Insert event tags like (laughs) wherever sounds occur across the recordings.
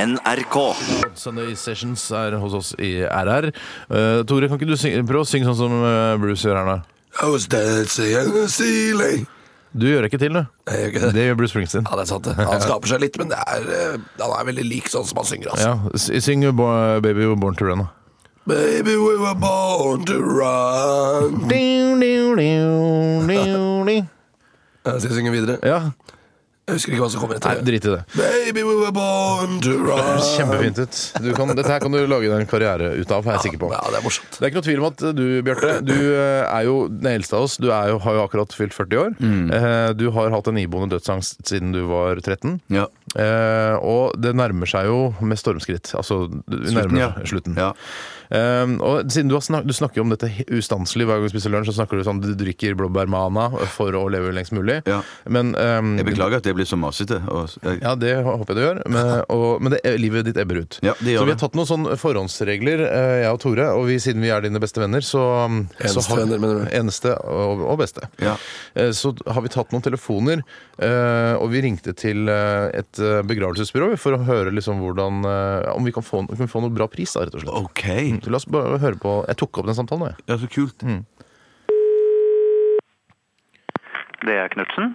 NRK. Sunday Sessions er hos oss i RR. Eh, Tore, kan ikke du syng, prøve å synge sånn som eh, Bruce gjør her nå? I was dancing in the ceiling. Du gjør det ikke (laughs) til, du. Jeg gjør ikke det. Det gjør Bruce Springsteen. Ja, det er sant. det. Han skaper seg litt, men det er, eh, han er veldig lik sånn som han synger. Altså. Ja, s- Syng jo Bo- 'Baby You Were Born To Run'. da. Baby, we were born to run. Jeg skal synge videre. Ja, Jeg husker ikke hva som kommer nei, etter det. drit i det. Baby, we were born to run. Høres Kjempefint ut. Du kan, dette her kan du lage deg en karriere ut av, er jeg sikker på. Ja, det er morsomt. Det er ikke noe tvil om at du, Bjarte, du eh, er jo den eldste av oss. Du er jo, har jo akkurat fylt 40 år. Mm. Eh, Du har hatt en iboende dødsangst siden du var 13. Ja. Eh, og det nærmer seg jo med stormskritt. Altså slutten, nærmer, ja. slutten. Ja. Eh, og siden du, har snak, du snakker jo om dette he- ustanselig hver gang du spiser lunsj, så snakker du sånn du drikker blåbærmana for å leve lengst mulig. Ja. Men eh, Jeg beklager at jeg blir så masete. Og, jeg, ja, det håper jeg du gjør. (laughs) Men, og, men det, livet ditt ebber ut. Ja, det gjør så vi har det. tatt noen sånne forhåndsregler, eh, jeg og Tore. Og vi, siden vi er dine beste venner, så, så Eneste venner, mener du? Eneste og, og beste. Ja. Eh, Så har vi tatt noen telefoner, eh, og vi ringte til eh, et eh, begravelsesbyrå for å høre liksom hvordan eh, Om vi kan få, kan vi få noe bra pris, da, rett og slett. OK. Så La oss bare høre på Jeg tok opp den samtalen, jeg. Ja, så kult. Mm. Det er Knutsen.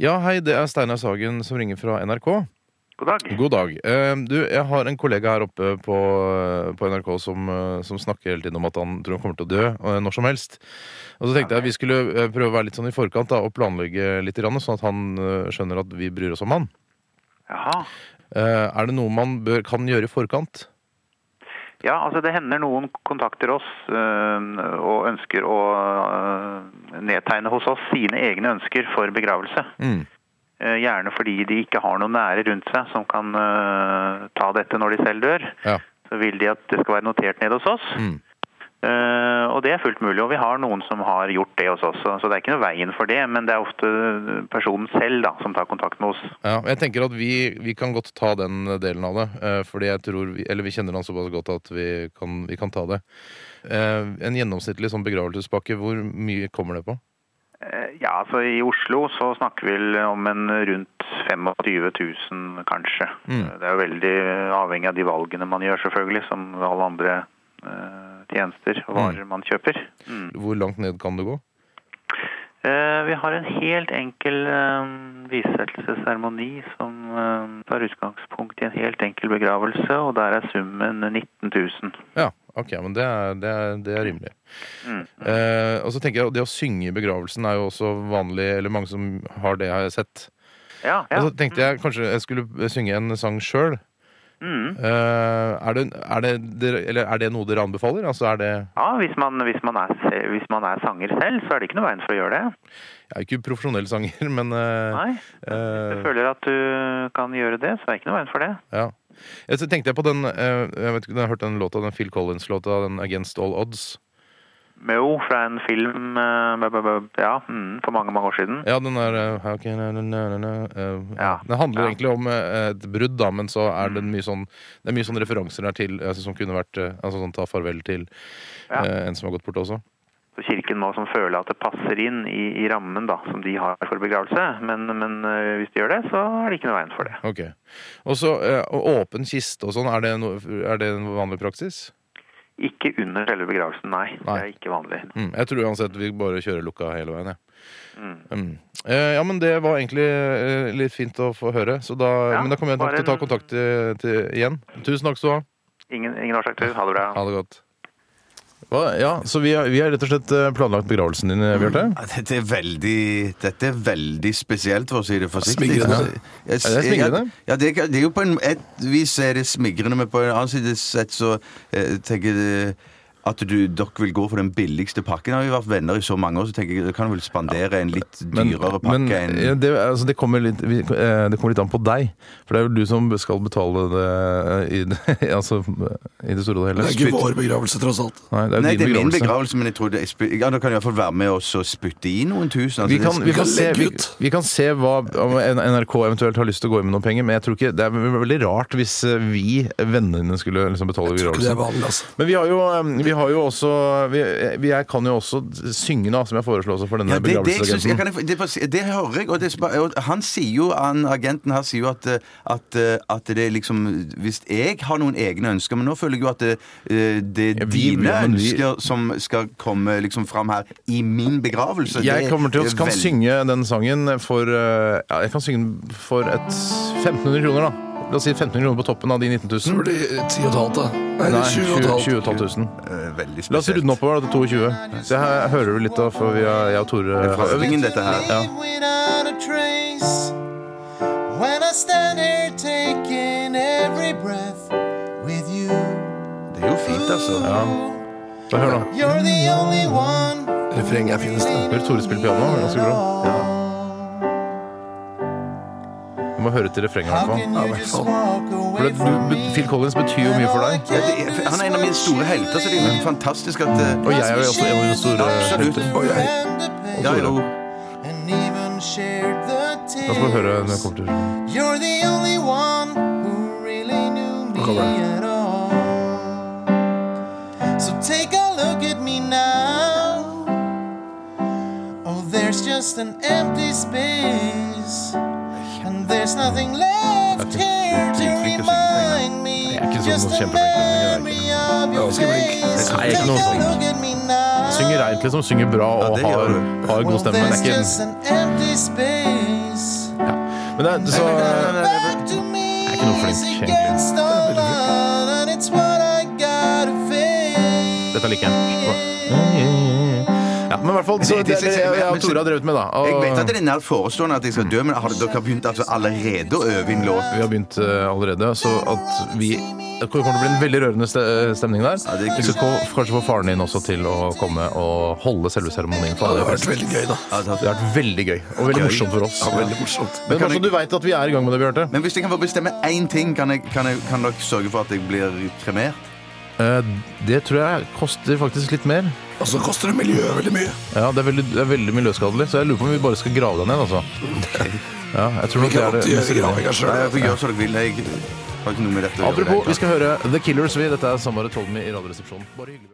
Ja, hei, det er Steinar Sagen som ringer fra NRK. God dag. God dag. Eh, Du, jeg har en kollega her oppe på, på NRK som, eh, som snakker hele tiden om at han tror han kommer til å dø eh, når som helst. Og så tenkte jeg at vi skulle eh, prøve å være litt sånn i forkant da, og planlegge litt, grann, sånn at han eh, skjønner at vi bryr oss om han. Jaha. Eh, Er det noe man bør, kan gjøre i forkant? Ja, altså det hender noen kontakter oss øh, og ønsker å øh, nedtegne hos oss sine egne ønsker for begravelse. Mm. Eh, Gjerne fordi de ikke har noen nære rundt seg som kan øh, ta dette når de selv dør. Ja. Så vil de at det skal være notert ned hos oss. Eh, og det er fullt mulig, og vi har noen som har gjort det hos oss. Så så det er ikke noe veien for det, men det er ofte personen selv da, som tar kontakt med oss. Ja, jeg tenker at vi, vi kan godt ta den delen av det. eh, Fordi jeg tror vi, Eller vi kjenner han såpass godt at vi kan, vi kan ta det. Eh, En gjennomsnittlig sånn begravelsespakke, hvor mye kommer det på? Eh, Ja, altså I Oslo så snakker vi vel om en rundt 25 000, kanskje. Det er jo veldig avhengig av de valgene man gjør, selvfølgelig, som alle andre eh, tjenester og varer man kjøper. Mm. Hvor langt ned kan du gå? Eh, vi har en helt enkel eh, visesettelsesseremoni som eh, tar utgangspunkt i en helt enkel begravelse, og der er summen 19 000. Ja, ok, men det er, det er, det er rimelig. Mm, Eh, og så tenker jeg at Det å synge i begravelsen er jo også vanlig, eller mange som har det, har jeg sett. Ja, ja. Og så tenkte jeg kanskje jeg skulle synge en sang sjøl. Eh, Mm. er, det- er, det- dere- eller er det noe dere anbefaler? Altså er det ja hvis, man, hvis, man er, se- hvis man er sanger selv, så er det ikke noe veien for å gjøre det. Jeg er jo ikke profesjonell sanger, (laughs) men eh, Nei. eh, Hvis du føler at du kan gjøre det, så er det ikke noe veien for det. ja. Jeg så tenkte jeg på den eh, Jeg vet ikke, om du har hørt den låta, den Phil Collins-låta, den 'Against All Odds'? Jo, fra en film eh, b- b- b- ja, mm, for mange mange år siden. Ja, den der eh, How can I na, na, na, na, eh, Ja. Den handler Ja. egentlig om eh, et brudd, da, men så er det mye sånn Det er mye sånne referanser der til eh, som kunne vært eh, Altså sånn ta farvel til Ja. eh, en som har gått bort også. Så Kirken må som føle at det passer inn i, i rammen da, som de har for begravelse. Men, men eh, hvis de gjør det, så er det ikke noe veien for det. Ok. Og så eh, og åpen kiste og sånn, er, det noe- er det en vanlig praksis? Ikke under selve begravelsen, nei. Det Nei. er ikke vanlig. Mm, jeg tror uansett vi bare kjører lukka hele veien, jeg. Mm. Eh, ja, men det var egentlig eh, litt fint å få høre. Så da, Ja, men da kommer jeg nok bare til å ta en- kontakt til, til, igjen. Tusen takk skal du ha. Ingen, ingen årsak til. Ha det bra. Ha det godt. Hva? Ja, så vi har, vi har rett og slett eh, planlagt begravelsen din, Bjarte. Mm. Ja, Dette er veldig Dette er veldig spesielt, for å si det forsiktig. Smigrende. Altså, jeg- Ja, det er smigrende. Ja, det, er- det er jo på en, et vis er det smigrende, men på en annen side sett så eh, tenker jeg at du, dere vil gå for den billigste pakken. Har vi vært venner i så mange år, så tenker jeg du kan vel spandere en litt dyrere pakke men enn ja, det, altså, det, kommer litt, vi, eh, det kommer litt an på deg. For det er jo du som skal betale det eh, i, det- (laughs) altså, i det store og Det hele. er ikke vår begravelse, tross alt. Nei, det er jo Nei, din det er min begravelse. begravelse, men jeg tror det er spy- ja, Da kan du iallfall være med oss og spytte i noen tusen. altså, Vi det er kan, vi, smigrende. får kan se, legge vi, ut. vi kan se hva om NRK eventuelt har lyst til å gå inn med noen penger, men jeg tror ikke, det er ve- veldig rart hvis eh, vi, vennene dine, skulle liksom betale Tror ikke det begravelsen. er vanlig, altså. Men vi har jo, eh, vi vi har jo også vi, vi, Jeg kan jo også synge, da, som jeg foreslo også for denne Ja, det, det, jeg synes, jeg begravelsesagenten. kan, det, det hører jeg, og, det, og han sier jo, han, agenten her sier jo at, at, at det er liksom Hvis jeg har noen egne ønsker Men nå føler jeg jo at det, det er Ja, vi- dine ja, men vi- ønsker som skal komme liksom fram her i min begravelse. Jeg Det kommer til å er kan veldig- synge den sangen for eh, ja, Jeg kan synge den for et 1500 kroner, da. La oss si 1500 kroner på toppen av de 19 Så 000. blir det 10 og et halvt, da. Nei, Nei, 20 og et 20 halvt. 20 500. eh, Veldig La oss runde den oppover da, til 22. Det her hører du litt av, for vi har, jeg og Tore fra har øvd. øvingen, dette her. Ja. without a trace. When I stand here taking every breath with you. Det er jo fint, altså. Så Hør nå. You're the only one. Refrenget er finest, det. Hør Tore spille piano. det er Ganske bra. Ja. Du må høre til refrenget, i hvert fall. Ja, i hvert fall. For det, du, Phil Collins betyr jo mye for deg. Ja, det er, han er en av mine store helter, så det er jo fantastisk at eh, Og jeg er jo også en av dine store Absolutt. helter. Og jeg ja, jo. And even shared the tears. La oss bare høre når jeg kommer til You're the only one who really knew me Come on. at all. So take a look at me now. Oh, there's just an empty space. And there's nothing left here to flink å synge, remind me. er ikke sånn Just a kjempeflink, men memory of your Ganske flink. face. Nei, jeg er Take ikke a noe flink. look at me now. Synger reint, liksom. Synger bra og Ja, det gjør har, du. har god Well, stemme. Men det there's er ikke just an empty space. ja. Men det er så Back to me er ikke noe flink, is egentlig. against all odds, and it's what I gotta face. Dette liker jeg. Ja, men i hvert fall så det, er det jeg, jeg og Tore har drevet med, da. Jeg vet at Og det er nært forestående at jeg skal dø, men har dere begynt altså allerede å øve inn låt? vi har begynt eh, allerede, så at vi det kommer til å bli en veldig rørende ste- eh, stemning der. det er Vi skal ko- kanskje få faren din også til å komme og holde selve seremonien. for alle. Det har vært veldig gøy, da. altså. Det har vært veldig gøy, og veldig morsomt for oss. Ja, veldig morsomt. Men kan bare så jeg- du vet at vi er i gang med det, Bjarte. Men hvis jeg kan få bestemme én ting, kan, jeg, kan, jeg, kan dere sørge for at jeg blir kremert? Eh, Det tror jeg koster faktisk litt mer. Og så koster det miljøet veldig mye. Ja, Det er veldig, det er veldig miljøskadelig, så jeg lurer på om vi bare skal grave deg ned, altså. Ja, jeg tror Vi nok det kan er godt det mest gjøre ryddige. gravinga Nei, sjøl. jeg får gjøre som dere vil. Jeg har ikke noe med dette å gjøre. Apropos, vi skal høre The Killers, vi. Dette er Samara Told Me i Radioresepsjonen. Bare hyggelig.